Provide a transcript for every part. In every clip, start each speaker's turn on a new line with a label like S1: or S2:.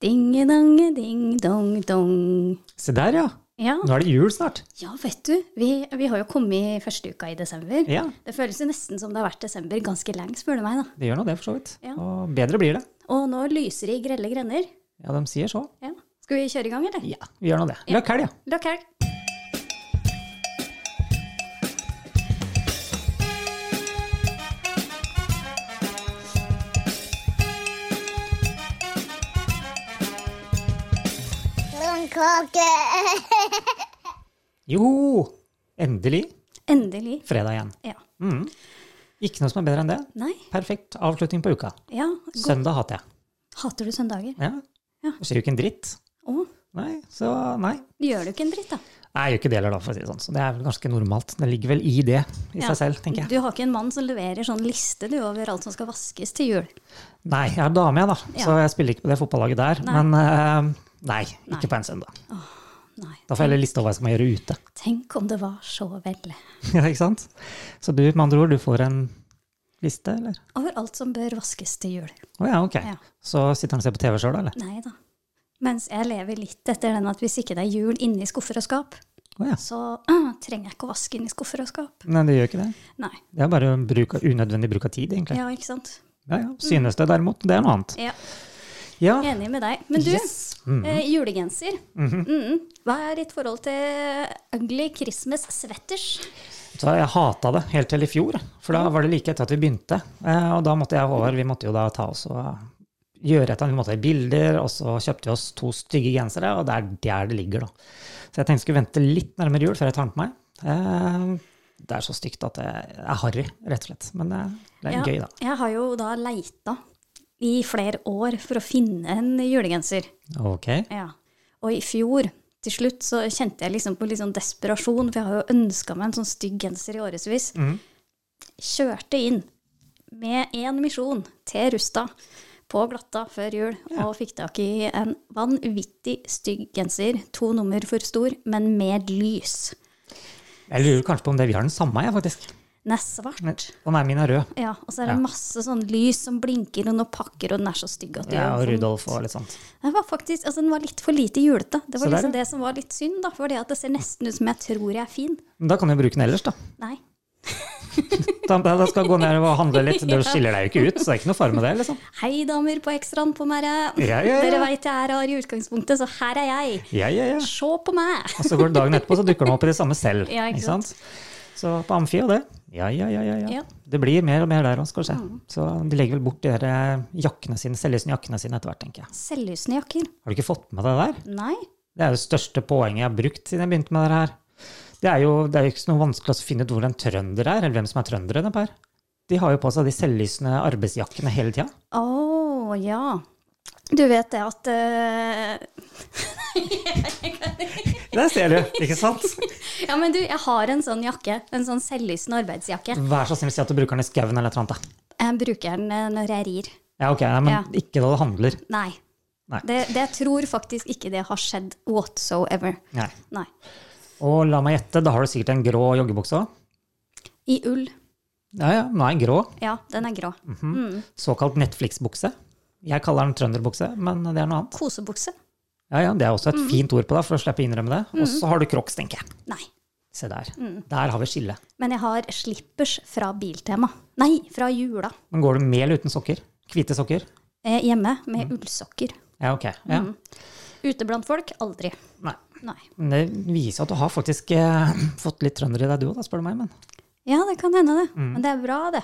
S1: Dingedange, ding, dong, dong.
S2: Se der, ja.
S1: Ja,
S2: Nå er det jul snart.
S1: ja vet du. Vi, vi har jo kommet i første uka i desember.
S2: Ja,
S1: Det føles jo nesten som det har vært desember ganske lenge, spør du meg, da.
S2: det gjør nå det, for så vidt.
S1: Ja.
S2: Og bedre blir det.
S1: Og nå lyser det i grelle grender.
S2: Ja, de sier så.
S1: Ja. Skal vi kjøre i gang, eller?
S2: Ja, vi gjør nå det.
S1: Ja.
S2: Løkk helg, ja.
S1: Løkk helg!
S3: Blomkåke.
S2: Jo! Endelig
S1: Endelig.
S2: fredag igjen.
S1: Ja.
S2: Mhm. Ikke noe som er bedre enn det.
S1: Nei.
S2: Perfekt avslutning på uka.
S1: Ja. God.
S2: Søndag hater jeg.
S1: Hater du søndager?
S2: Ja.
S1: Ja.
S2: Det skjer jo ikke en dritt.
S1: Å,
S2: Nei, så nei.
S1: gjør du ikke en dritt, da?
S2: Nei, jeg gjør ikke det heller, da, for å si det sånn. Så det er vel ganske normalt. Det ligger vel i det i
S1: Ja.
S2: seg selv, tenker jeg.
S1: Du har ikke en mann som leverer sånn liste du over alt som skal vaskes til jul?
S2: Nei, jeg er dame, jeg, da,
S1: Ja.
S2: så jeg spiller ikke på det fotballaget der.
S1: Nei.
S2: Men eh, nei,
S1: Nei.
S2: ikke på en søndag.
S1: Nei.
S2: Da får jeg heller liste over hva jeg skal gjøre ute.
S1: Tenk om det var så vel.
S2: Ja, ikke sant? Så du, med andre ord, du får en liste, eller?
S1: Over alt som bør vaskes til jul.
S2: Å ja, ok.
S1: Ja.
S2: Så sitter han og ser på TV sjøl, eller?
S1: Nei da. Mens jeg lever litt etter den at hvis ikke det er jul inni skuffer og skap,
S2: Å ja.
S1: så ah, trenger jeg ikke å vaske inni skuffer og skap.
S2: Nei, det gjør ikke det.
S1: Nei.
S2: Det er bare bruk av, unødvendig bruk av tid, egentlig. Ja.
S1: Ja, ikke sant.
S2: Ja, Synes det, derimot, det er noe annet.
S1: Ja,
S2: Ja.
S1: Enig med deg. Men du,
S2: Yes. Mhm.
S1: eh, julegenser. Mhm. Hva er ditt forhold til ugly Christmas sweaters?
S2: Så jeg hata det helt til i fjor, for da var det like etter at vi begynte. Eh, Og da måtte jeg og Håvard vi måtte jo da ta oss og eh, gjøre et eller annet. Vi måtte ha bilder, og så kjøpte vi oss to stygge gensere, og det er der det ligger, da. Så jeg tenkte jeg skulle vente litt nærmere jul før jeg tar den på meg. Eh, Det er så stygt at det er harry, rett og slett. Men det det er
S1: Ja,
S2: gøy, da.
S1: Jeg har jo da leita i flere år for å finne en julegenser.
S2: Ok.
S1: Ja. Og i fjor, til slutt, så kjente jeg liksom på litt sånn desperasjon, for jeg har jo ønska meg en sånn stygg genser i årevis.
S2: Mhm.
S1: Kjørte inn med én misjon til Rusta på Glatta før jul, og fikk tak i en vanvittig stygg genser, to nummer for stor, men med lys.
S2: Jeg lurer kanskje på om det vi har den samme, jeg, faktisk.
S1: Den er svart.
S2: Men- Og nei, min er rød.
S1: Ja, og så er det
S2: Ja.
S1: masse sånn lys som blinker, og noen pakker, og den er så stygg at du
S2: Ja, og
S1: gjør vondt.
S2: Rudolf og litt sånt.
S1: Den var faktisk, altså den var litt for lite julete. Det
S2: Så
S1: var
S2: der,
S1: liksom
S2: ja.
S1: det som var litt synd, da. For det at det ser nesten ut som jeg tror jeg er fin.
S2: Men da kan du bruke den ellers, da.
S1: Nei.
S2: Da, da skal jeg gå ned og handle litt. Du skiller deg jo ikke ut, så det er ikke noe fare med det, liksom.
S1: Hei, damer på ekstraen på meg.
S2: Ja, ja, ja.
S1: Dere veit jeg er rar i utgangspunktet, så her er jeg.
S2: Ja, ja, ja.
S1: Se på meg!
S2: Og så går det dagen etterpå, så dukker den opp i det samme selv.
S1: Ja, ikke
S2: ikke sant? Så på Amfi og det. Ja, ja, ja. ja, ja.
S1: Ja. Mm.
S2: Det blir mer og mer der òg, skal du se. Så de legger vel bort de der eh, jakkene sine, selvlysende jakkene sine etter hvert, tenker jeg.
S1: Selvlysende jakker.
S2: Har du ikke fått med deg det der?
S1: Nei.
S2: Det er jo det største poenget jeg har brukt siden jeg begynte med det her. Det er jo, det er jo ikke så noe vanskelig å finne ut hvor en trønder er, eller hvem som er trøndere. det Per. De har jo på seg de selvlysende arbeidsjakkene hele tida.
S1: Å ja. Du vet det at eh,
S2: Der ser du, ikke sant?
S1: Ja, men du, jeg har en sånn jakke. En sånn selvlysende arbeidsjakke.
S2: Vær så snill å si at du bruker den i skauen eller et eller annet. da.
S1: Jeg bruker den eh, når jeg rir.
S2: Ja, ok, nei, men
S1: Ja.
S2: ikke da du handler.
S1: Nei.
S2: Nei.
S1: Det, det jeg tror faktisk ikke det har skjedd whatsoever.
S2: Nei.
S1: Nei.
S2: Og la meg gjette, da har du sikkert en grå joggebukse òg?
S1: I ull.
S2: Ja, ja, den er grå.
S1: Ja, den er grå.
S2: Mm. Såkalt Netflix-bukse. Jeg kaller den trønderbukse, men det er noe annet.
S1: Kosebukse?
S2: Ja, ja, Det er også et fint ord på det, for å slippe å innrømme det. Og så har du crocs, tenker jeg.
S1: Nei.
S2: Se der. Der har vi skillet.
S1: Men jeg har slippers fra Biltema. Nei, fra jula.
S2: Men går du med eller uten sokker? Hvite sokker?
S1: Eh, hjemme med
S2: Mm.
S1: ullsokker.
S2: Ja, ok. Ja.
S1: Ute blant folk? Aldri.
S2: Nei.
S1: Nei.
S2: Men det viser at du har faktisk eh, fått litt trønder i deg, du òg, spør du meg. Men
S1: Ja, det kan hende, det.
S2: Mm.
S1: Men det er bra, det.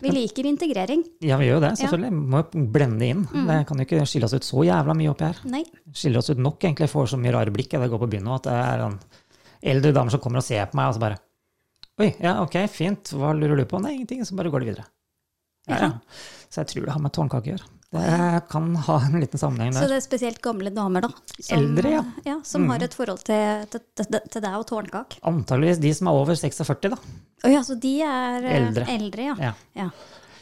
S1: Vi liker integrering.
S2: ja, vi gjør jo det, selvfølgelig. Må jo blende inn. Det kan jo ikke skille oss ut så jævla mye oppi her.
S1: Nei.
S2: skiller oss ut nok, egentlig. Får så mye rare blikk jeg, det går på byen nå, at det er en eldre dame som kommer og ser på meg, og så bare Oi, ja, ok, fint, hva lurer du på? Nei, ingenting. Så bare går det videre. Ja, ja. Så jeg tror det har med tårnkake å gjøre. Det kan ha en liten sammenheng
S1: Så
S2: der.
S1: det er spesielt gamle damer, da. eh,
S2: Eldre, ja. Mm.
S1: ja som har et forhold til, til, til, til deg og tårnkak.
S2: Antageligvis de som er over 46, da.
S1: Å ja, så de er eh,
S2: Eldre.
S1: eldre ja.
S2: Ja.
S1: ja.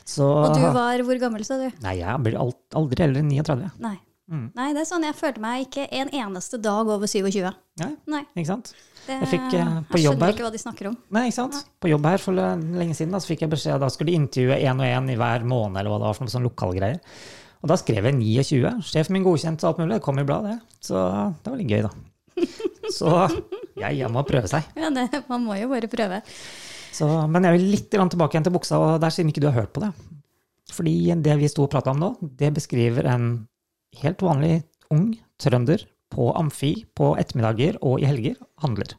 S2: Så
S1: Og du var hvor gammel, sa du?
S2: Nei, jeg blir alt, aldri eldre enn 39.
S1: Nei.
S2: Mm.
S1: Nei, det er sånn. Jeg følte meg ikke en eneste dag over 27.
S2: Nei,
S1: Nei.
S2: ikke sant?
S1: Det,
S2: Jeg fikk, eh, på
S1: jeg
S2: jobb her-
S1: skjønner ikke hva de snakker om.
S2: Nei, ikke sant? På jobb her for lenge siden da, så fikk jeg beskjed da skulle de intervjue én og én i hver måned, eller hva det var for noe sånn lokalgreier. Og da skrev jeg 29. Sjefen min godkjente og alt mulig. Det kom i bladet, det. Så det var litt gøy, da. Så ja, ja, må prøve seg.
S1: Ja, det, man må jo bare prøve.
S2: Så, men jeg vil litt grann tilbake igjen til buksa, og der siden ikke du har hørt på det. Fordi det vi sto og prata om nå, det beskriver en helt vanlig ung trønder på amfi på ettermiddager og i helger handler.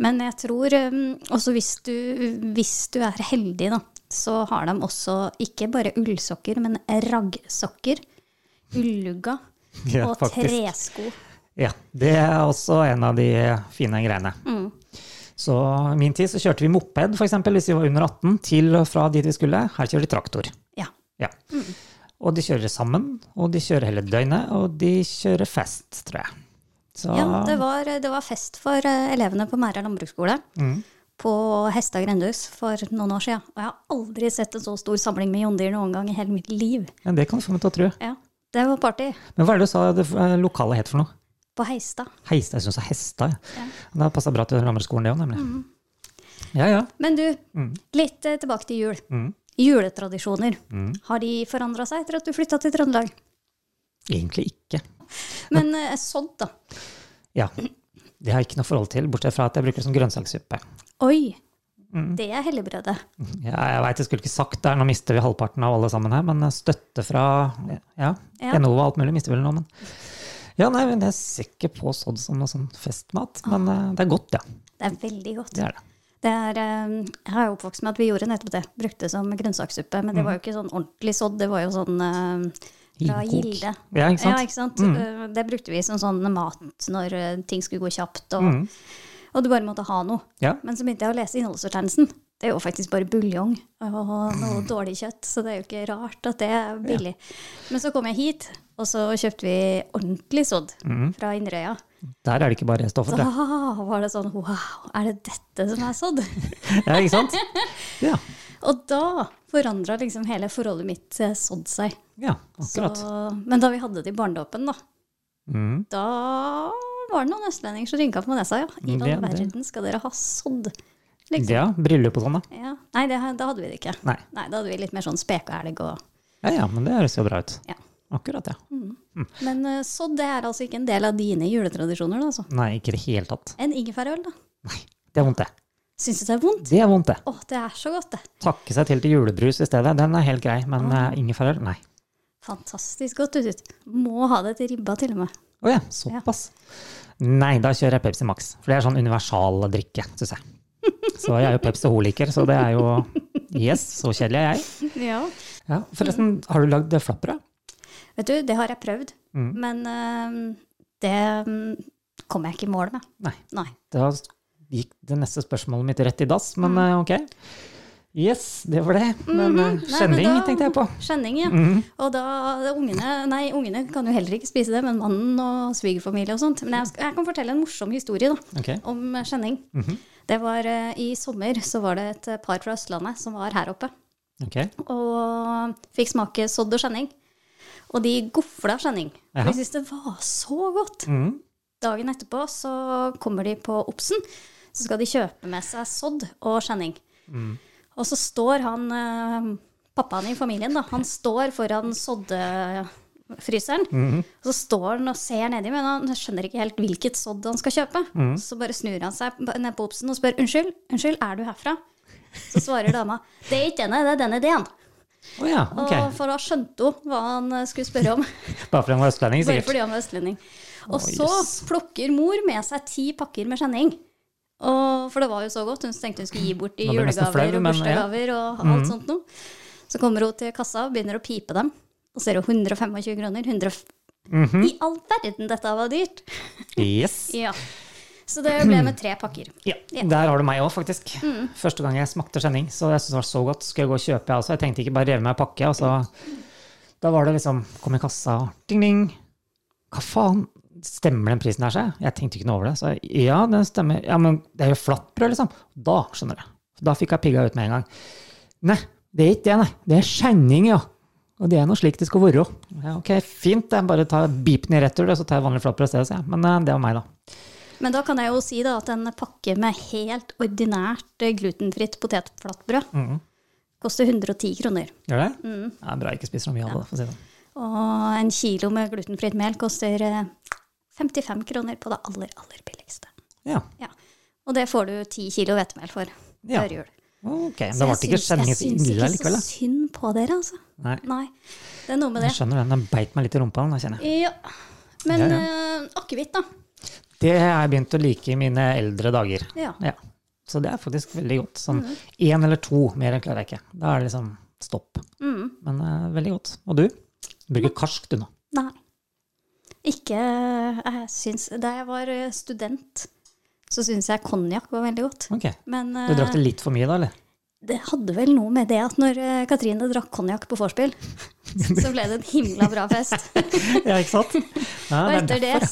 S1: Men jeg tror um, også hvis du, hvis du er heldig, da, så har de også ikke bare ullsokker, men raggsokker, ullugga
S2: Ja,
S1: og
S2: faktisk.
S1: tresko.
S2: Ja, det er også en av de fine greiene.
S1: Mm.
S2: Så i min tid så kjørte vi moped, for eksempel, hvis vi var under 18, til og fra dit vi skulle. Her kjører de traktor.
S1: Ja.
S2: Ja.
S1: Mm.
S2: Og de kjører sammen, og de kjører hele døgnet, og de kjører fast, tror jeg. Så,
S1: Ja, det var, det var fest for eh, elevene på Mæra landbruksskole
S2: Mm.
S1: på Hestad grendehus for noen år siden. Og jeg har aldri sett en så stor samling med jondyr noen gang i hele mitt liv.
S2: ja, det kan du få meg til å tro.
S1: Ja, Det var party
S2: Men hva er det du sa det eh, lokale het for noe?
S1: på Heistad.
S2: Heistad? Jeg syns det er Hestad. Ja. Det passa bra til Lammerskolen, det òg, nemlig.
S1: Mm.
S2: Ja, ja.
S1: Men du,
S2: Mm.
S1: litt eh, tilbake til jul. Juletradisjoner.
S2: Mm.
S1: Har de forandra seg etter at du flytta til Trøndelag?
S2: Egentlig ikke.
S1: Men eh, sådd, da.
S2: Ja. Det har jeg ikke noe forhold til, bortsett fra at jeg bruker det som grønnsakssuppe.
S1: Oi!
S2: Mm.
S1: Det er helligbrødet.
S2: Ja, jeg veit jeg skulle ikke sagt det, her, nå mister vi halvparten av alle sammen her, men støtte fra ja,
S1: Ja.
S2: Enova og alt mulig mister vi vel nå, men Ja, nei, men jeg ser ikke på sådd som noe sånn festmat, men
S1: Ah.
S2: eh, det er godt, ja.
S1: Det er veldig godt.
S2: Det er det.
S1: Det er, eh, jeg er jo oppvokst med at vi gjorde nettopp det. Brukte det som grønnsakssuppe.
S2: Mm.
S1: Men det var jo ikke sånn ordentlig sådd, det var jo sånn eh, fra
S2: Himkok.
S1: gilde.
S2: Ja, ikke sant? Mm.
S1: Ja, ikke sant? Eh, Det brukte vi som sånn mat når eh, ting skulle gå kjapt, og,
S2: Mm.
S1: og du bare måtte ha noe.
S2: Ja.
S1: Men så begynte jeg å lese innholdsfortegnelsen. Det er jo faktisk bare buljong og noe dårlig kjøtt, så det er jo ikke rart at det er billig. Men så kom jeg hit, og så kjøpte vi ordentlig sådd
S2: Mhm.
S1: fra Inderøya.
S2: Der er det ikke bare stoffet,
S1: Da
S2: det.
S1: var det sånn wow, er det dette som er sådd?
S2: Ja, ikke sant? Ja.
S1: Og da forandra liksom hele forholdet mitt til sådd seg.
S2: ja
S1: Så,
S2: akkurat.
S1: men da vi hadde det i barnedåpen, da,
S2: Mm.
S1: da var det noen østlendinger som rynka på nesa. Ja, i
S2: Det-
S1: all
S2: det-
S1: verden skal dere ha sådd? Liksom.
S2: Ja, bryllup og sånn, da.
S1: Ja. Nei, det, da hadde vi det ikke.
S2: Nei.
S1: da hadde vi litt mer sånn spekeelg og
S2: Ja, ja, men det høres jo bra ut.
S1: ja.
S2: Akkurat, ja.
S1: Men eh, sådd det er altså ikke en del av dine juletradisjoner, da, altså.
S2: Nei, ikke i det hele tatt.
S1: En ingefærøl, da.
S2: Nei, det er vondt, det.
S1: Syns du det er vondt?
S2: Det er vondt, det.
S1: Å, det er så godt, det.
S2: Takke seg til til julebrus i stedet, den er helt grei, men
S1: Ah.
S2: eh, ingefærøl, nei.
S1: Fantastisk godt ut. Må ha det til ribba, til og med.
S2: Å ja, såpass. Nei, da kjører jeg Pepsi Max. For det er sånn universal drikke, syns jeg. Så jeg er jo Pepsi-holiker, så det er jo Yes, så kjedelig er jeg.
S1: Ja.
S2: Ja, forresten, har du lagd flatbrød?
S1: Vet du, det har jeg prøvd, men øhm, det øhm, kom jeg ikke i mål med.
S2: Nei.
S1: Nei.
S2: Da gikk det neste spørsmålet mitt rett i dass,
S1: Mm.
S2: men eh, ok. Yes, det var det. Men eh,
S1: Mhm. Nei, men
S2: skjending
S1: da-
S2: tenkte jeg på.
S1: Skjenning, ja. Og da ungene Nei, ungene kan jo heller ikke spise det, men mannen og svigerfamilie og sånt. Men jeg, skal- jeg kan fortelle en morsom historie, da.
S2: Ok.
S1: om skjenning. Det var eh, I sommer så var det et par fra Østlandet som var her oppe
S2: ok.
S1: og fikk smake sodd og skjenning. Og de gofla skjenning.
S2: Ja.
S1: Og de syntes det var så godt.
S2: Mhm.
S1: Dagen etterpå så kommer de på Obsen, så skal de kjøpe med seg sodd og skjenning. Og så står han eh, pappaen i familien, da, han står foran soddefryseren. Og så står han og ser nedi, men han skjønner ikke helt hvilket sodd han skal kjøpe. Så bare snur han seg b- ned på Obsen og spør unnskyld, unnskyld, er du herfra? Så svarer dama det er ikke denne, det er denne ideen.
S2: Å ja,
S1: Og
S2: ok.
S1: For da skjønte hun hva han eh, skulle spørre om.
S2: Bare fordi han var østlending,
S1: Bare
S2: sikkert.
S1: fordi han var østlending. Og
S2: Å,
S1: så
S2: jøss.
S1: plukker mor med seg ti pakker med skjenning. Og, for det var jo så godt. Hun tenkte hun skulle gi bort i
S2: Nå blir jeg nesten
S1: julegaver
S2: flau,
S1: og
S2: men ja. Mm.
S1: bursdagsgaver og alt sånt noe. Så kommer hun til kassa og begynner å pipe dem. Og ser hun 125 kroner. 100...
S2: Mhm.
S1: I all verden, dette var dyrt!
S2: Yes.
S1: Ja. Så det ble med tre pakker.
S2: Ja,
S1: Ja.
S2: der har du meg òg, faktisk. Første gang jeg smakte skjenning, så jeg syntes det var så godt. Skulle jeg gå og kjøpe, altså. jeg også. Jeg tenkte ikke bare reve meg en pakke. Og så da var det liksom Kom i kassa, ding, ding. Hva faen? Stemmer den prisen her, seg? Jeg tenkte ikke noe over det. Så jeg, ja, den stemmer. Ja, men det er jo flatbrød, liksom. Da skjønner jeg. Da fikk jeg pigga ut med en gang. Nei, det er ikke det, nei. Det er skjenning, ja. Og det er noe slik det skal være. Ja, ok, fint. Jeg bare tar beepen i retur, og så tar jeg vanlig flatbrød i stedet, sier jeg. Men eh, det var meg, da.
S1: Men da kan jeg jo si da at en pakke med helt ordinært eh, glutenfritt
S2: Mm.
S1: potetflatbrød koster 110 kroner.
S2: Gjør det? Ja, bra jeg ikke spiser så mye av det, for å si det sånn.
S1: Og en kilo med glutenfritt mel koster eh, 55 kroner på det aller, aller billigste.
S2: Ja.
S1: Ja. Og det får du 10 kilo hvetemel for
S2: Ja.
S1: før jul.
S2: Ok, men
S1: Så jeg
S2: det ble ikke
S1: syns-
S2: sendingens innlegg
S1: Jeg syns ikke
S2: likevel.
S1: så
S2: da.
S1: synd på dere, altså.
S2: Nei,
S1: Nei, det er noe med
S2: jeg
S1: det.
S2: skjønner den. Den beit meg litt i rumpa, den, jeg kjenner jeg.
S1: Ja. Men
S2: Ja,
S1: eh, akevitt, da.
S2: Det har jeg begynt å like i mine eldre dager.
S1: Ja.
S2: Ja. Så det er faktisk veldig godt. Sånn én eller to, mer enn klarer jeg ikke. Da er det liksom stopp.
S1: Mm.
S2: Men eh, veldig godt. Og du? Du bruker karsk, du nå.
S1: Nei. Ikke eh, Jeg syns Da jeg var eh, student, så syns jeg konjakk var veldig godt.
S2: Ok.
S1: Men
S2: Du drakk
S1: eh,
S2: det litt for mye da, eller?
S1: det hadde vel noe med det at når eh, Katrine drakk konjakk på vorspiel, så ble det en himla bra fest.
S2: Ja, ikke sant? Ja,
S1: Og
S2: det
S1: etter
S2: er
S1: det
S2: derfor.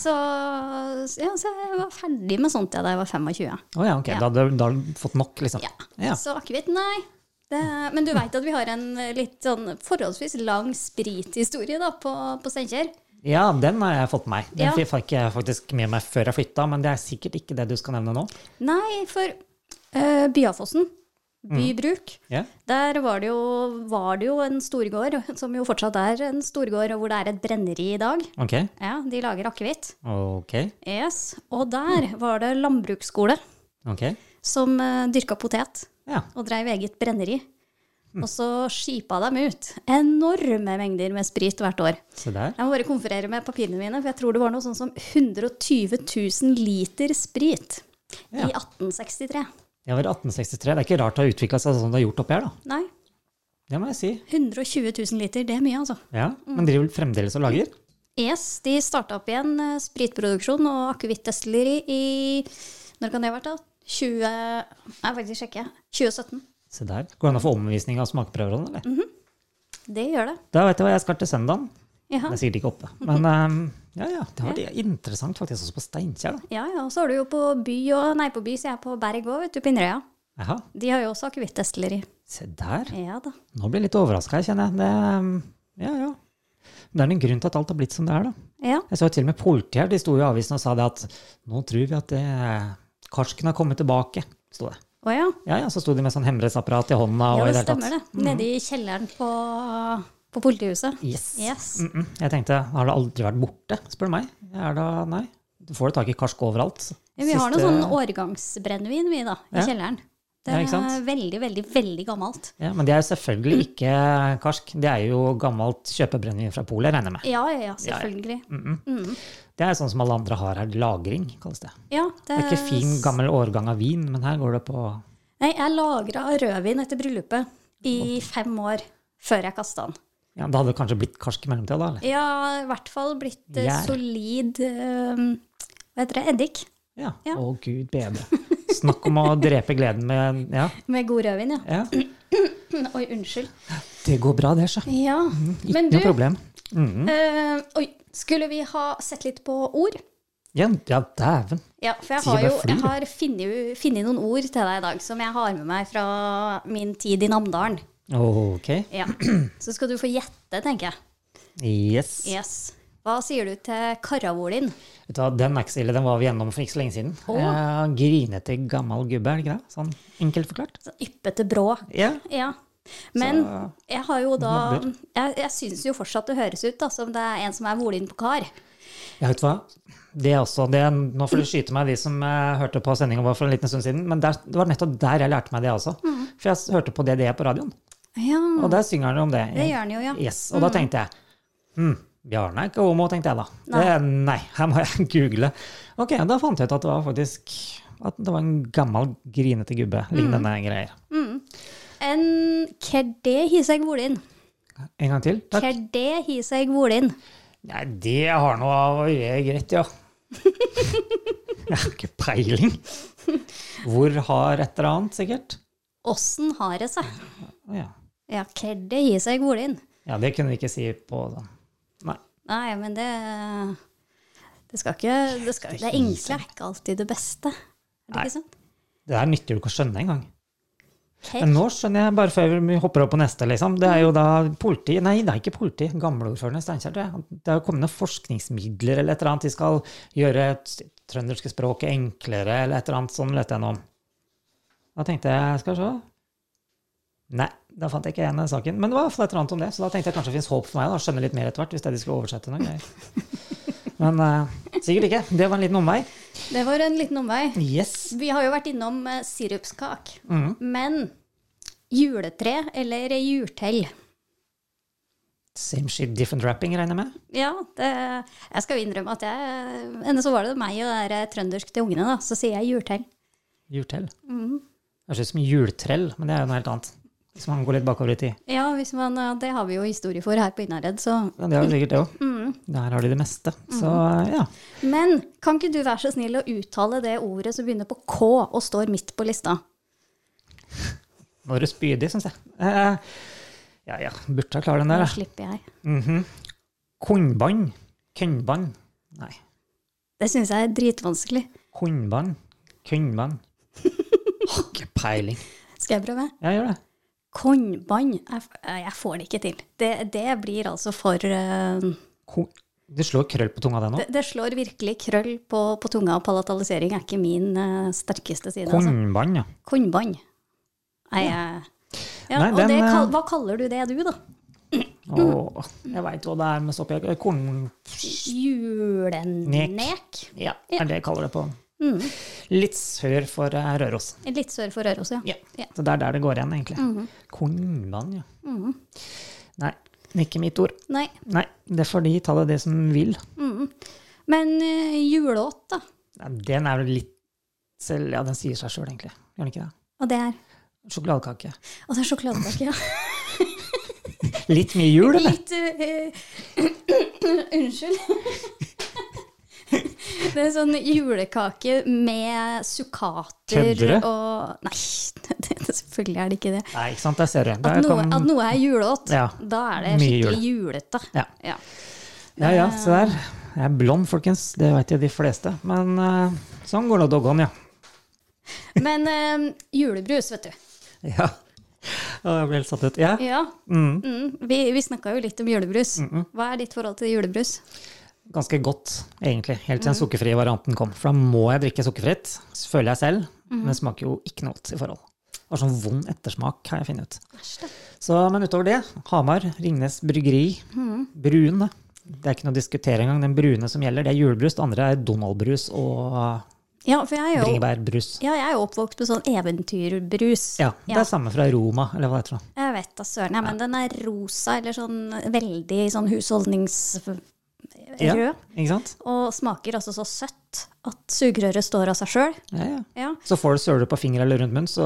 S1: så Ja, så jeg var ferdig med sånt ja, da jeg var 25.
S2: Å ja, ok.
S1: Ja.
S2: Da, hadde- da har du fått nok, liksom.
S1: Ja.
S2: Ja.
S1: Så akevitt, nei. Det, men du veit at vi har en litt sånn forholdsvis lang sprithistorie da, på, på Steinkjer?
S2: Ja, den har jeg fått med meg. Den
S1: Ja.
S2: fikk- fikk jeg faktisk med meg før jeg flytta, men det er sikkert ikke det du skal nevne nå.
S1: Nei, for eh, Byafossen,
S2: Mm.
S1: bybruk,
S2: Ja.
S1: der var det, jo, var det jo en storgård, som jo fortsatt er en storgård, og hvor det er et brenneri i dag.
S2: Ok.
S1: Ja, de lager akevitt.
S2: Ok.
S1: Yes. Og der var det landbruksskole
S2: Ok.
S1: som eh, dyrka potet
S2: Ja.
S1: og dreiv eget brenneri. Og så skipa de ut enorme mengder med sprit hvert år.
S2: Se der.
S1: Jeg må bare konferere med papirene mine, for jeg tror det var noe sånn som 120 000 liter sprit
S2: Ja.
S1: i 1863.
S2: Det var 1863. Det er ikke rart det har utvikla seg sånn det har gjort oppi her, da.
S1: Nei,
S2: Det må jeg si.
S1: 120 000 liter, det er mye, altså.
S2: Ja. Men driver vel fremdeles og lager?
S1: Yes, de starta opp igjen eh, spritproduksjon og akevittdestilleri i Når kan det ha vært, da? 20 Nei, faktisk sjekker jeg. 2017.
S2: Se der. Går det an å få omvisning av smakeprøver og sånn, eller?
S1: Det gjør det.
S2: Da vet jeg hva jeg skal til søndagen.
S1: Jaha.
S2: Det er sikkert ikke oppe. Men ehm, ja, ja. Det var interessant faktisk også på Steinkjer, da.
S1: Ja, ja. Og så har du jo på by og Nei, på by, så jeg er på Berg òg, vet du. Pinnrøya.
S2: Jaha.
S1: De har jo også akevittdestilleri.
S2: Se der.
S1: Ja da.
S2: Nå blir jeg litt overraska, kjenner jeg. Det, ehm, ja, ja. Men Det er en grunn til at alt har blitt som det er, da.
S1: Ja.
S2: Jeg så til og med politiet her, de sto i avisen og sa det at nå tror vi at det, karsken har kommet tilbake, sto det.
S1: Å ja.
S2: Ja, ja, så sto de med sånn hemmelighetsapparat i hånda.
S1: Ja,
S2: og i
S1: det
S2: hele tatt. Mhm.
S1: stemmer det. Nede i kjelleren på, på politihuset.
S2: Yes.
S1: Yes.
S2: Mm -mm. Jeg tenkte, har det aldri vært borte, spør du meg. Er det, nei, du får jo tak i karsk overalt. så.
S1: Ja, vi har noe
S2: Siste-
S1: sånn årgangsbrennevin, vi, da. I
S2: Ja.
S1: kjelleren. Det
S2: Ja,
S1: er
S2: ikke sant?
S1: veldig, veldig, veldig gammelt.
S2: Ja, men det er jo selvfølgelig ikke karsk. Det er jo gammelt kjøpebrennevin fra Polet, regner jeg med.
S1: Ja, ja, ja, selvfølgelig.
S2: Mm. Det er sånn som alle andre har her, lagring, kalles det.
S1: Ja,
S2: Det er
S1: Eh,
S2: ikke fin, gammel årgang av vin, men her går det på
S1: Nei, jeg lagra rødvin etter bryllupet i fem år før jeg kasta den.
S2: Ja, Det hadde det kanskje blitt karsk i mellomtida, da? eller?
S1: Ja, i hvert fall blitt eh,
S2: Gjær.
S1: solid eh, Hva heter det? Eddik.
S2: Ja.
S1: Ja.
S2: Å, gud bedre. Snakk om å drepe gleden med ja,
S1: Med god rødvin, ja.
S2: ja.
S1: Oi, unnskyld.
S2: Det går bra, det, så.
S1: Ja,
S2: Ikke
S1: men du
S2: noe problem. Mhm.
S1: eh, Oi, skulle vi ha sett litt på ord?
S2: Ja, ja dæven.
S1: Ja, for jeg
S2: Sier
S1: har
S2: bare
S1: jo
S2: flyr,
S1: jeg
S2: jeg.
S1: har funnet, funnet noen ord til deg i dag som jeg har med meg fra min tid i Namdalen.
S2: Ok.
S1: Ja. Så skal du få gjette, tenker jeg.
S2: Yes.
S1: Yes. Hva sier du til karavolen?
S2: Vet du hva, Den er ikke så ille. Den var vi gjennom for ikke så lenge siden.
S1: Å.
S2: Eh, grinete gammel gubbe, er det ikke det? Sånn enkelt forklart.
S1: Så Yppete brå.
S2: Ja.
S1: Ja. Men
S2: Så-
S1: jeg har jo da
S2: Nabber.
S1: Jeg, jeg syns jo fortsatt det høres ut da, som det er en som er volen på kar.
S2: ja, vet du hva. Det er også, det, nå får du skyte meg, de som eh, hørte på sendinga vår for en liten stund siden. Men der, det var nettopp der jeg lærte meg det også.
S1: Mm.
S2: For jeg s- hørte på DDE på radioen.
S1: Ja,
S2: Og der synger han om det.
S1: Mm. det gjør den jo, ja. Mm.
S2: Yes, og da tenkte jeg hm, Bjarne er ikke homo, tenkte jeg da. Nei.
S1: Nei.
S2: Det, nei, her må jeg google. Ok, da fant jeg ut at det var faktisk at det var en gammel, grinete gubbe. Lignende
S1: Mm.
S2: greier.
S1: En kerdé hiseg volen.
S2: En gang til. Takk.
S1: Kerdé hiseg volen.
S2: Nei, det har noe av å gjøre greit, ja. jeg har ikke peiling. Hvor har et eller annet, sikkert?
S1: Åssen har det seg?
S2: Ja.
S1: Ja, kerdé hiseg volen.
S2: ja, det kunne vi ikke si på sånn. Nei.
S1: Nei, men det Det skal ikke Det, skal, det enkle er ikke alltid det beste. Er det
S2: Nei.
S1: ikke sant?
S2: Det der nytter jo ikke å skjønne engang.
S1: Kerd,
S2: Men nå skjønner jeg, bare før vi hopper over på neste, liksom. Det er jo da politi Nei, det er ikke politi. Gamleordføreren i Steinkjer. tror jeg. Det er jo kommet noen forskningsmidler eller et eller annet. De skal gjøre t- trønderske språket enklere eller et eller annet. Sånn lette jeg nå om. Da tenkte jeg Skal vi se Nei, da fant jeg ikke igjen den saken. Men det var i hvert fall et eller annet om det, så da tenkte jeg kanskje det fins håp for meg. da, Skjønne litt mer etter hvert, hvis det de skulle oversette noe greier. Men eh, sikkert ikke. Det var en liten omvei.
S1: Det var en liten omvei.
S2: Yes.
S1: Vi har jo vært innom eh, sirupskak.
S2: Mhm.
S1: Men juletre eller jurtell?
S2: Same shit, different wrapping, regner jeg med.
S1: Ja, det, jeg skal jo innrømme at jeg Enda så var det meg og det der trøndersk til ungene, da. Så sier jeg jurtell.
S2: Jurtell.
S1: Mm.
S2: Det høres ut som jultrell, men det er jo noe helt annet. Hvis man går litt bakover i tid.
S1: Ja, hvis man, ja, det har vi jo historie for her på Innherred, så
S2: Ja, det er jo sikkert det òg.
S1: Mm.
S2: Der har de det meste. Så ja.
S1: Men kan ikke du være så snill å uttale det ordet som begynner på K og står midt på lista?
S2: Nå er du spydig, syns jeg. Eh, ja ja, burde ha klart den
S1: Nå
S2: der. da.
S1: slipper jeg.
S2: Mhm. Kornbånd. Kønnbånd. Nei.
S1: Det syns jeg er dritvanskelig.
S2: Kornbånd. Kønnbånd. Har ikke peiling.
S1: Skal jeg prøve?
S2: Jeg gjør det.
S1: Kornbånd. Jeg, f- jeg får det ikke til. Det, det blir altså for eh,
S2: Ko du slår krøll på tunga, det nå.
S1: det, det slår virkelig krøll på, på tunga, og palatalisering er ikke min eh, sterkeste side. Altså.
S2: Kornbånd, ja.
S1: Kornbånd. Nei, jeg- Ja,
S2: Nei,
S1: og
S2: den,
S1: det,
S2: eh,
S1: kal- hva kaller du det, du, da? Mm.
S2: Åh, jeg veit hva det er med soppjakke. Korn...
S1: Julenek?
S2: Ja, er det jeg kaller det på.
S1: Mm.
S2: Litt sør for eh, Røros.
S1: Litt sør for Røros, ja.
S2: Ja.
S1: Ja. Mhm.
S2: Så det er der det går igjen, egentlig. Kornvann, ja. Nei, ikke mitt ord.
S1: Nei.
S2: Nei, det får de ta det det som vil.
S1: Men uh, juleåt, da?
S2: Nei, Den er vel litt selv, Ja, den sier seg sjøl, egentlig. Gjør den ikke det?
S1: Og det er
S2: Sjokoladekake.
S1: Og det er sjokoladekake, ja.
S2: Litt mye jul, eller?
S1: Litt eh, Unnskyld. det er sånn julekake med sukkater
S2: Kødder du?
S1: og Nei, det, det, selvfølgelig er det ikke det.
S2: Nei, ikke sant, der ser du. Der
S1: At noe,
S2: kom-
S1: at noe er juleåt,
S2: Ja.
S1: da er det
S2: Mye
S1: skikkelig julete.
S2: Ja.
S1: Ja.
S2: Ja, ja, se der. Jeg er blond, folkens. Det veit jo de fleste. Men eh, sånn går det doggone, ja.
S1: Men eh, julebrus, vet du.
S2: Ja. Å, Jeg ble helt satt ut. Ja.
S1: Ja. Mm. Vi, vi snakka jo litt om julebrus. Hva er ditt forhold til julebrus?
S2: ganske godt, egentlig, helt
S1: Mhm.
S2: til den sukkerfrie varianten kom. For da må jeg drikke sukkerfritt, føler jeg selv,
S1: Mhm.
S2: men det smaker jo ikke noe godt i forhold. Det var sånn vond ettersmak, kan jeg finne ut. Så, men utover det, Hamar, Ringnes Bryggeri,
S1: Mhm.
S2: brune. Det er ikke noe å diskutere engang. Den brune som gjelder, det er julebrus. Det andre er Donald-brus og
S1: Ja, for jeg er jo,
S2: bringebærbrus.
S1: ja, jeg er jo oppvokst med sånn eventyrbrus.
S2: Ja, det er samme fra Roma, eller hva det heter.
S1: Jeg vet da søren, ja, men den er rosa, eller sånn veldig sånn husholdningsrød.
S2: Ja, ikke sant?
S1: Og smaker altså så søtt at sugerøret står av seg sjøl.
S2: Ja, ja.
S1: Ja,
S2: Så får du søle på finger eller rundt munn, så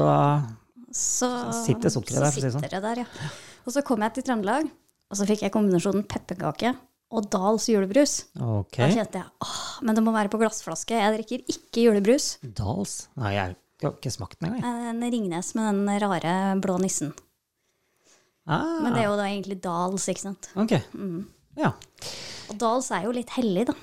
S1: så
S2: Sitter sukkeret der, for å si det
S1: så
S2: sånn.
S1: sitter det der, ja. Og så kom jeg til Trøndelag, og så fikk jeg kombinasjonen pepperkake og Dals julebrus.
S2: ok.
S1: Da kjente jeg åh, men det må være på glassflaske. Jeg drikker ikke julebrus.
S2: Dals. Nei, jeg har ikke smakt den engang. jeg.
S1: En Ringnes med den rare blå nissen.
S2: Ah,
S1: Men det er jo da egentlig Dals, ikke sant.
S2: Ok. Ja.
S1: Og Dals er jo litt hellig, da.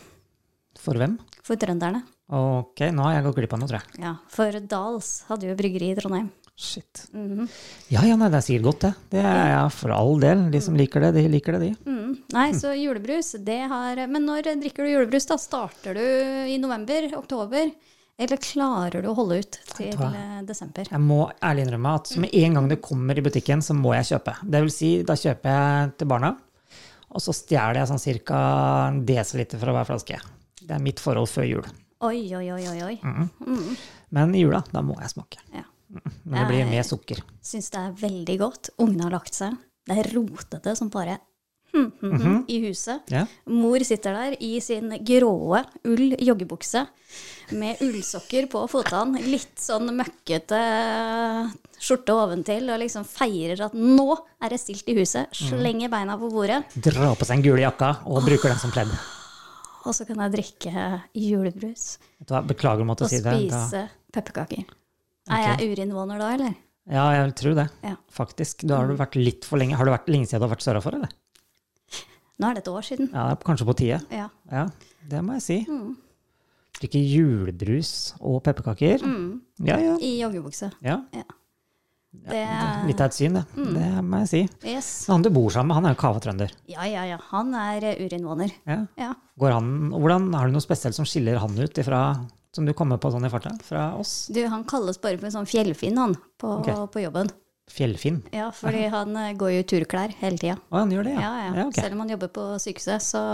S2: For hvem?
S1: For trønderne.
S2: Ok, nå har jeg gått glipp av noe, tror jeg.
S1: Ja, for Dals hadde jo bryggeri i Trondheim.
S2: Shit.
S1: Mm-hmm.
S2: Ja, ja, nei, det er sikkert godt, det. Det er ja, for all del. De som liker det, de liker det, de.
S1: Mm. Nei, så julebrus, det har Men når drikker du julebrus, da? Starter du i november? Oktober? Eller klarer du å holde ut til eh, desember?
S2: Jeg må ærlig innrømme at
S1: Mm.
S2: med en gang det kommer i butikken, så må jeg kjøpe. Det vil si, da kjøper jeg til barna, og så stjeler jeg sånn cirka en desiliter fra hver flaske. Det er mitt forhold før jul.
S1: Oi, oi, oi, oi. oi.
S2: Men i jula, da må jeg smake.
S1: Ja.
S2: Men det blir med sukker.
S1: Syns det er veldig godt. Ungene har lagt seg. Det er rotete som bare hm, i huset.
S2: Ja.
S1: Mor sitter der i sin gråe ull joggebukse med ullsokker på fotene, litt sånn møkkete skjorte oventil, og liksom feirer at nå er det stilt i
S2: Mm.
S1: huset, slenger beina på bordet,
S2: Dra på seg den gule jakka og bruker den som pledd.
S1: og så kan jeg drikke julebrus
S2: Vet du hva, Beklager å måtte
S1: og
S2: si det. Da.
S1: spise pepperkaker. Er jeg urinnvåner da, eller?
S2: Ja, jeg vil tro det.
S1: Ja.
S2: Faktisk. Da har du vært litt for lenge. Har du vært lenge siden du har vært sørafor, eller?
S1: Nå er det et år siden.
S2: Ja, det er kanskje på tide.
S1: Ja.
S2: Ja, det må jeg si.
S1: Mm.
S2: Drikke julebrus og pepperkaker.
S1: Mm.
S2: Ja, ja.
S1: I joggebukse.
S2: ja.
S1: Det
S2: Litt av et syn, det.
S1: Mm.
S2: Det må jeg si.
S1: Yes.
S2: Han du bor sammen med, han er jo kavatrønder.
S1: Ja, ja, ja. Han er eh, urinnvåner.
S2: Ja.
S1: Ja.
S2: Går han, hvordan, har du noe spesielt som skiller han ut ifra, som du kommer på sånn i farta, fra oss?
S1: Du, han kalles bare for en sånn fjellfinn, han, på,
S2: Ok.
S1: på jobben.
S2: Fjellfinn?
S1: Ja, fordi han eh, går jo i turklær hele tida.
S2: Å, han gjør det, ja?
S1: Ja, ja.
S2: ok.
S1: Selv om han jobber på sykehuset, så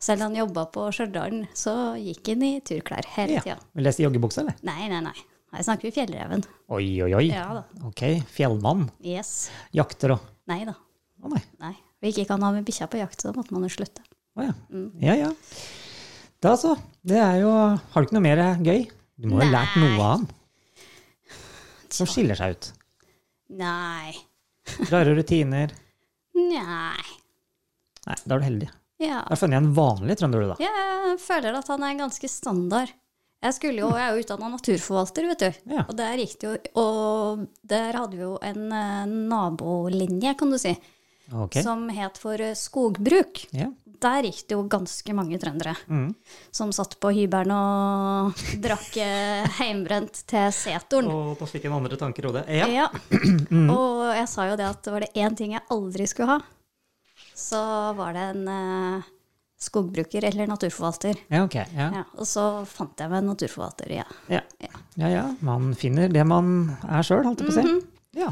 S1: Selv om han jobba på Stjørdal, så gikk han i turklær hele tida.
S2: Ja. Vil jeg si joggebukse, eller?
S1: Nei, nei, nei. Her snakker vi fjellreven.
S2: Oi, oi, oi.
S1: Ja da.
S2: Ok, fjellmann.
S1: Yes.
S2: Jakter og
S1: Nei da.
S2: Å nei.
S1: Nei. Vi gikk ikke an å ha med bikkja på jakt, så da måtte man jo slutte.
S2: Å ja. Ja ja. Da så. Det er jo Har du ikke noe mer gøy? Du må jo ha lært noe av han som skiller seg ut.
S1: Nei.
S2: Rare rutiner.
S1: Nei.
S2: Nei, da er du heldig.
S1: Ja.
S2: Da har du funnet en vanlig trønder, du, da.
S1: Jeg føler at han er ganske standard. Jeg, skulle jo, jeg er jo utdanna naturforvalter, vet du.
S2: Ja.
S1: Og der gikk det jo Og der hadde vi jo en eh, nabolinje, kan du si,
S2: Ok.
S1: som het for eh, skogbruk.
S2: Ja.
S1: Der gikk det jo ganske mange trøndere
S2: Mm.
S1: som satt på hybelen og drakk eh, heimbrent til setoren.
S2: Og da fikk jeg en andre tanke i hodet.
S1: Ja.
S2: Mm.
S1: Og jeg sa jo det at var det én ting jeg aldri skulle ha, så var det en eh, skogbruker eller naturforvalter.
S2: Ja, ok. Ja.
S1: Ja, og så fant jeg meg en naturforvalter, ja.
S2: Ja. ja, ja. Man finner det man er sjøl, holdt jeg på å si. Ja.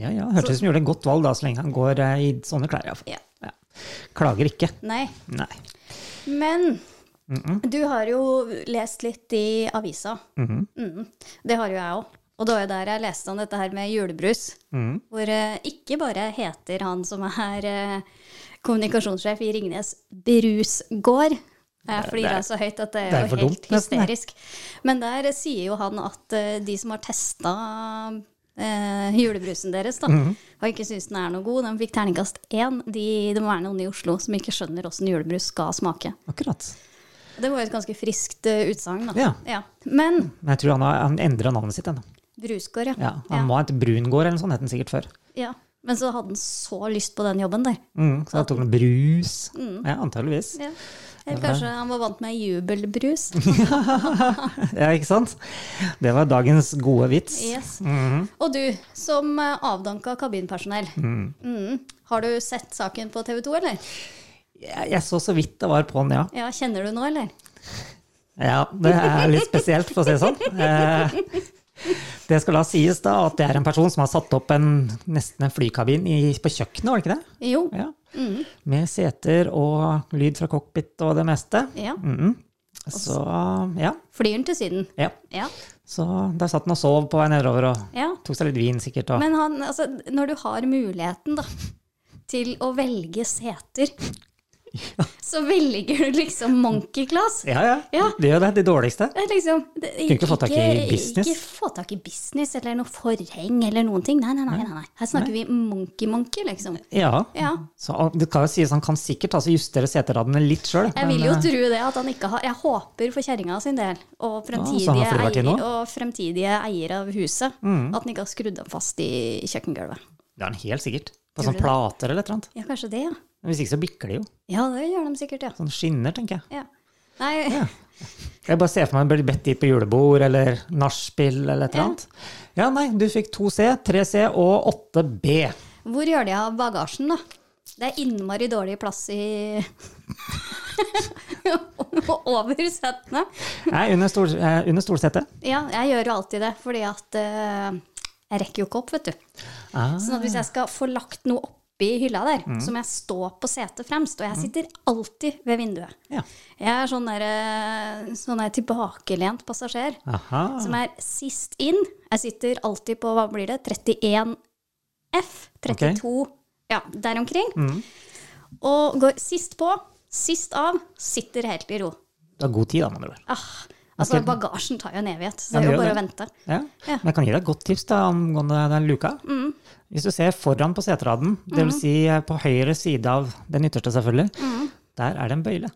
S2: Ja, ja. Hørtes ut som du gjorde et godt valg, da, så lenge han går eh, i sånne klær. i hvert fall.
S1: ja.
S2: Ja. Klager ikke.
S1: Nei.
S2: Nei.
S1: Men
S2: Mm.
S1: du har jo lest litt i avisa.
S2: Mm-hmm.
S1: Mm. Det har jo jeg òg. Og det var jo der jeg leste om dette her med julebrus.
S2: Mhm.
S1: Hvor eh, ikke bare heter han som er eh, kommunikasjonssjef i Ringnes, Brusgård. Jeg flirer så høyt at det er,
S2: det er for
S1: jo helt
S2: dumt, nesten, det.
S1: hysterisk. Men der eh, sier jo han at eh, de som har testa Eh, julebrusen deres, da.
S2: Mm-hmm.
S1: Og ikke syns den er noe god. De fikk terningkast én. De, det må være noen i Oslo som ikke skjønner åssen julebrus skal smake.
S2: Akkurat.
S1: Det var jo et ganske friskt eh, utsagn, da.
S2: Ja.
S1: Men
S2: Men jeg tror han, har, han endra navnet sitt ennå.
S1: Brusgård, ja.
S2: Ja, han må ha hett Brungård eller noe sånt, het den sikkert før.
S1: ja. Men så hadde han så lyst på den jobben der.
S2: Mm, så han tok noe brus. Ja, antageligvis.
S1: Ja. Eller kanskje han var vant med jubelbrus.
S2: Ja, ikke sant? Det var dagens gode vits.
S1: Yes.
S2: Mhm.
S1: Og du, som eh, avdanka kabinpersonell.
S2: Mhm.
S1: Mm. Har du sett saken på TV 2, eller?
S2: Jeg, jeg så så vidt det var på'n, ja.
S1: Ja, Kjenner du nå, eller?
S2: Ja, det er litt spesielt, for å si det sånn. Eh, det skal da sies da at det er en person som har satt opp en, nesten en flykabin i, på kjøkkenet, var det ikke det?
S1: Jo.
S2: Ja. Med seter og lyd fra cockpit og det meste.
S1: Ja.
S2: Mhm. Så ja.
S1: Flyr den til Syden.
S2: ja.
S1: Ja.
S2: Så der satt han og sov på vei nedover og
S1: ja.
S2: tok seg litt vin, sikkert. Og,
S1: Men han, altså, når du har muligheten da, til å velge seter, så velger du liksom monkey class.
S2: ja, ja,
S1: Ja.
S2: Det er jo det, de dårligste.
S1: Det er liksom, det,
S2: Kunne ikke få tak i business?
S1: Ikke få tak i business eller noe forheng eller noen ting. Nei, nei, nei. nei, nei. Her snakker vi monkey-monkey, liksom.
S2: Ja.
S1: Ja.
S2: Så ah, det kan jo sies han kan sikkert altså, justere seteradene litt sjøl.
S1: Jeg vil
S2: eh,
S1: jo tro det at han ikke har Jeg håper for kjerringa sin del og
S2: Ah, så
S1: fremtidige,
S2: han har flere verdier
S1: eier,
S2: nå? Mm.
S1: og fremtidige eiere av huset at han ikke har skrudd dem fast i kjøkkengulvet.
S2: Det er han helt sikkert. På
S1: Tror du
S2: sånne
S1: det?
S2: plater eller et eller annet.
S1: Ja, kanskje det, ja.
S2: Hvis ikke så bikker de jo.
S1: Ja, det gjør de sikkert, ja.
S2: Sånn skinner, tenker jeg.
S1: ja. Nei,
S2: Jeg bare ser for meg han blir bedt dit på julebord eller nachspiel eller et eller annet. Ja, nei, du fikk 2C, 3C og 8B.
S1: Hvor gjør de av bagasjen, da? Det er innmari dårlig plass i Over setene.
S2: Nei, under, stol, eh, under stolsetet.
S1: Ja, jeg gjør jo alltid det, fordi at eh, jeg rekker jo ikke opp, vet du.
S2: Ah.
S1: Sånn at hvis jeg skal få lagt noe oppi hylla der,
S2: Mm.
S1: så må jeg stå på setet fremst. Og jeg sitter alltid ved vinduet.
S2: Ja.
S1: Jeg er sånn der, eh, sånn der tilbakelent passasjer
S2: Aha.
S1: som er sist inn. Jeg sitter alltid på, hva blir det, 31 F, 32, ja, der omkring.
S2: Mm.
S1: Og går sist på, sist av, sitter helt i ro.
S2: Du har god tid, da, med andre ord.
S1: Ah, altså, bagasjen tar jo en evighet, så
S2: Ja,
S1: det er
S2: det
S1: jo
S2: gjør
S1: bare å
S2: det.
S1: vente.
S2: Ja.
S1: Ja. Mm.
S2: Men jeg kan gi deg et godt tips da, angående den luka. Hvis du ser foran på seteraden, dvs. Si eh, på høyre side av den ytterste, selvfølgelig, der er det en bøyle.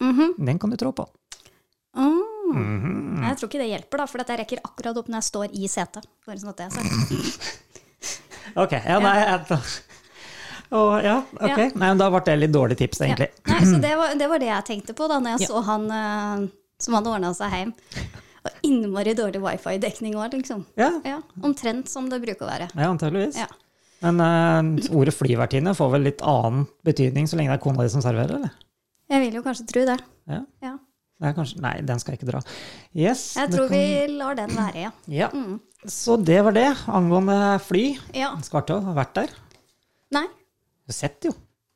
S1: Mm-hmm.
S2: Den kan du trå på.
S1: Mm.
S2: Mhm.
S1: Jeg tror ikke det hjelper, da, for at jeg rekker akkurat opp når jeg står i setet. Bare sånn at det er sagt.
S2: Ok, ja, nei, jeg, Å, ja, ok.
S1: Ja.
S2: Nei, men da ble det litt dårlig tips,
S1: Ja.
S2: egentlig.
S1: Nei, så det var, det var det jeg tenkte på da når jeg så han eh, som hadde ordna seg hjem. Og innmari dårlig wifi-dekning òg, liksom.
S2: Ja, ja.
S1: Ja, omtrent som det bruker å være.
S2: antageligvis.
S1: Ja.
S2: Men eh, ordet flyvertinne får vel litt annen betydning så lenge det er kona di som serverer, eller?
S1: Jeg vil jo kanskje tro det.
S2: Ja.
S1: Ja.
S2: Det er kanskje, nei, den skal jeg ikke dra. Yes.
S1: Jeg
S2: det
S1: tror
S2: kan-
S1: vi Mm. lar den være, ja.
S2: Ja. Så det var det angående fly.
S1: ja.
S2: Skulle vært, å- vært der.
S1: Nei.
S2: Du har Sett, jo.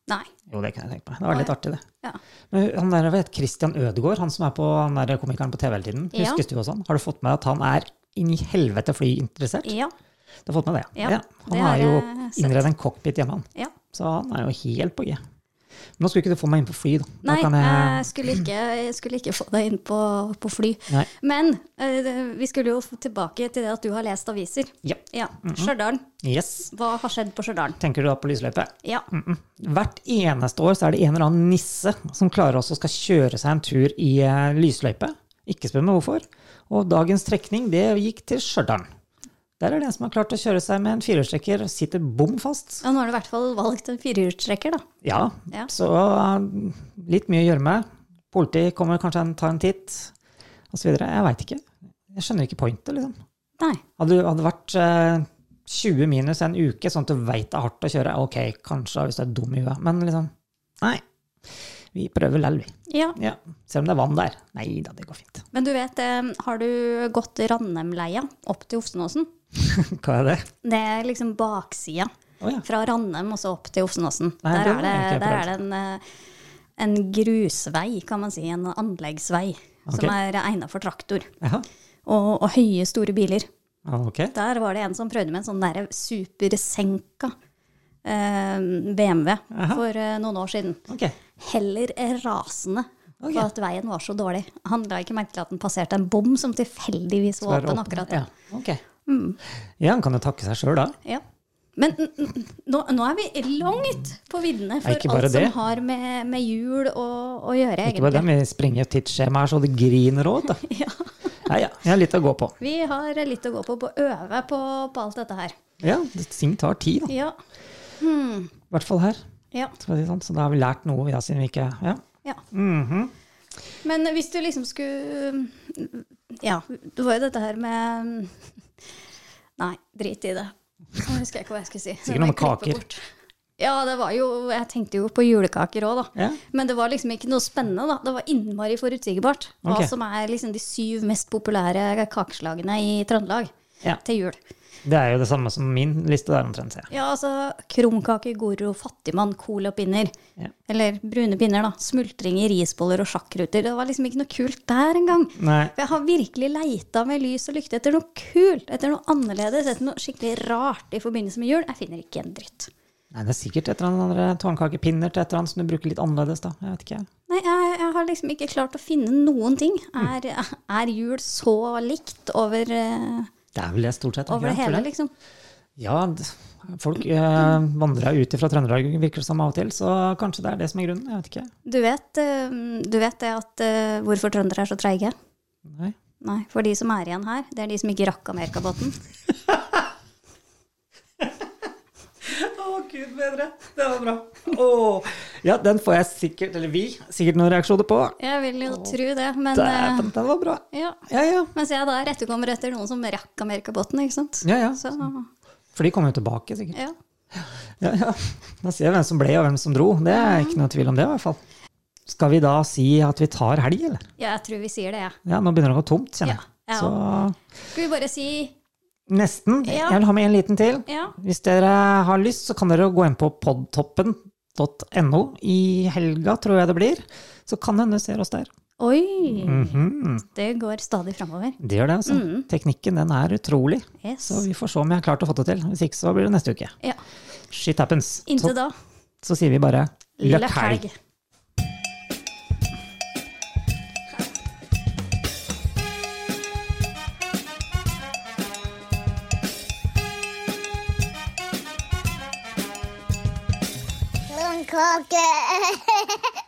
S1: Nei.
S2: Jo, det kan jeg tenke meg. Det var litt artig, det.
S1: Ja.
S2: Men han der, hva heter Christian Ødegaard, han som er på han der komikeren på TV hele tiden.
S1: Ja.
S2: Huskes du også han? Har du fått med deg at han er inn i helvete flyinteressert?
S1: Ja.
S2: Du har fått med det,
S1: Ja,
S2: Han
S1: det
S2: har
S1: har
S2: jo
S1: jeg sett.
S2: innredet en cockpit hjemme, han.
S1: ja.
S2: Så han er jo helt på G. Men nå skulle ikke du få meg inn på fly, da. Nå
S1: Nei, eh.
S2: kan
S1: jeg
S2: jeg...
S1: skulle ikke, jeg skulle ikke få deg inn på, på fly.
S2: Nei.
S1: Men eh, det- vi skulle jo tilbake til det at du har lest aviser.
S2: Ja.
S1: Ja.
S2: Mhm.
S1: Stjørdal.
S2: Yes.
S1: Hva har skjedd på Stjørdal?
S2: Tenker du da på lysløype?
S1: Ja.
S2: Mm. Hvert eneste år så er det en eller annen nisse som klarer også skal kjøre seg en tur i eh, lysløype. Ikke spør meg hvorfor. Og dagens trekning, det gikk til Stjørdal. Der er det en som har klart å kjøre seg med en firehjulstrekker, sitter bom fast.
S1: ja. Nå har du i hvert fall valgt en firehjulstrekker, da.
S2: Ja,
S1: Ja.
S2: så eh, litt mye å gjøre med. Politi kommer kanskje en, tar en titt, osv. Jeg veit ikke. Jeg skjønner ikke pointet, liksom.
S1: Nei.
S2: Hadde hadde det vært eh, 20 minus en uke, sånn at du veit det er hardt å kjøre, ok, kanskje hvis du er dum i huet, men liksom Nei. Vi prøver lell, vi.
S1: Ja.
S2: Ja, selv om det er vann der. Nei da, det går fint.
S1: Men du vet, eh, har du gått Ranheimleia opp til Ofsenåsen?
S2: Hva er det?
S1: Det er liksom baksida
S2: Å ja.
S1: fra Ranheim og så opp til Ofsenåsen.
S2: Nei,
S1: Der
S2: det
S1: er
S2: har
S1: det,
S2: jeg ikke
S1: der
S2: prøvd.
S1: er det en, eh, en grusvei, kan man si. En anleggsvei.
S2: Ok.
S1: Som er egna for traktor
S2: Jaha.
S1: og, og høye, store biler.
S2: Ja, Ok.
S1: Der var det en som prøvde med en sånn derre supersenka eh, BMW
S2: Aha.
S1: for eh, noen år siden.
S2: Ok.
S1: Heller rasende
S2: Ok.
S1: på at veien var så dårlig. Han la ikke merke til at den passerte en bom som tilfeldigvis var
S2: Bare
S1: åpen
S2: åpne.
S1: akkurat da.
S2: Ja, ok. ja, han kan jo takke seg sjøl, da.
S1: Ja. Men n- n- nå, nå er vi langt på viddene for
S2: Ja, ikke bare
S1: alt som
S2: det.
S1: har med, med jul å, å gjøre,
S2: Ikke bare
S1: egentlig.
S2: dem, vi springer tidsskjemaet her så det griner òg, vet du. Ja, ja. Jeg har litt å gå på.
S1: Vi har litt å gå på på å øve på, på alt dette her.
S2: Ja, ting tar tid, da.
S1: Ja.
S2: I hvert fall her.
S1: ja,
S2: Så det er sånn, så da har vi lært noe, ja, siden vi ikke Ja.
S1: ja.
S2: Mhm.
S1: Men hvis du liksom skulle Ja, det var jo dette her med Nei, drit i det. Nå husker jeg ikke hva jeg skulle si.
S2: Sikkert noe med
S1: Jeg klipper
S2: kaker.
S1: bort. Ja, det var jo Jeg tenkte jo på julekaker òg, da.
S2: ja.
S1: Men det var liksom ikke noe spennende, da. Det var innmari forutsigbart hva
S2: Ok.
S1: som er liksom de syv mest populære kakeslagene i Trøndelag
S2: Ja.
S1: til jul.
S2: Det er jo det samme som min liste der omtrent, ser jeg.
S1: Ja, altså krumkake, goro, fattigmann, cola og pinner.
S2: Ja.
S1: Eller brune pinner, da. Smultringer, risboller og sjakkruter. Det var liksom ikke noe kult der engang.
S2: Nei,
S1: For jeg har virkelig leita med lys og lykte etter noe kult, etter noe annerledes, etter noe skikkelig rart i forbindelse med jul. Jeg finner ikke en dritt.
S2: nei, det er sikkert et eller annet andre tårnkakepinner til et eller annet som du bruker litt annerledes, da. Jeg vet ikke.
S1: Nei, jeg, jeg har liksom ikke klart å finne noen ting. Er, er jul så likt over, eh,
S2: Det er vel det stort sett.
S1: over det
S2: ikke
S1: hele,
S2: tror jeg.
S1: liksom?
S2: Ja, d- folk eh, vandrer ut fra Trøndelag, virker det som av og til, så kanskje det er det som er grunnen. Jeg vet ikke.
S1: Du vet, eh, du vet det at eh, hvorfor trøndere er så treige?
S2: Nei.
S1: Nei, for de som er igjen her, det er de som ikke rakk Amerikabåten.
S2: Å, gud bedre. Det var bra. Ja, den får jeg sikkert, eller vi, sikkert noen reaksjoner på.
S1: Jeg vil jo tro det, men eh,
S2: Dæven, den var bra.
S1: ja.
S2: Ja, ja.
S1: Mens jeg da rettekommer etter noen som rakk Amerikabåten, ikke sant?
S2: Ja, ja.
S1: Så,
S2: For de kommer jo tilbake, sikkert.
S1: ja.
S2: Ja, ja. Da ser vi hvem som ble og hvem som dro. Det er ikke noe tvil om det, i hvert fall. Skal vi da si at vi tar helg, eller?
S1: ja, jeg tror vi sier det, jeg.
S2: Ja, nå begynner det å gå tomt, kjenner jeg.
S1: Ja, ja.
S2: Så
S1: Skal vi bare si
S2: nesten.
S1: Ja.
S2: Jeg vil ha med en liten til.
S1: ja?
S2: Hvis dere har lyst, så kan dere gå inn på podtoppen.no i helga, tror jeg det blir. Så kan hende du ser oss der.
S1: Oi!
S2: Mhm.
S1: Det går stadig framover.
S2: Det gjør det, altså.
S1: Mm.
S2: Teknikken den er utrolig.
S1: Yes.
S2: Så vi får se om jeg har klart å få det til. Hvis ikke, så blir det neste uke.
S1: Ja.
S2: Shit happens.
S1: Inntil
S2: Så,
S1: da,
S2: så sier vi bare løkk
S1: løkk
S2: helg.
S1: helg.
S3: Blomkåke!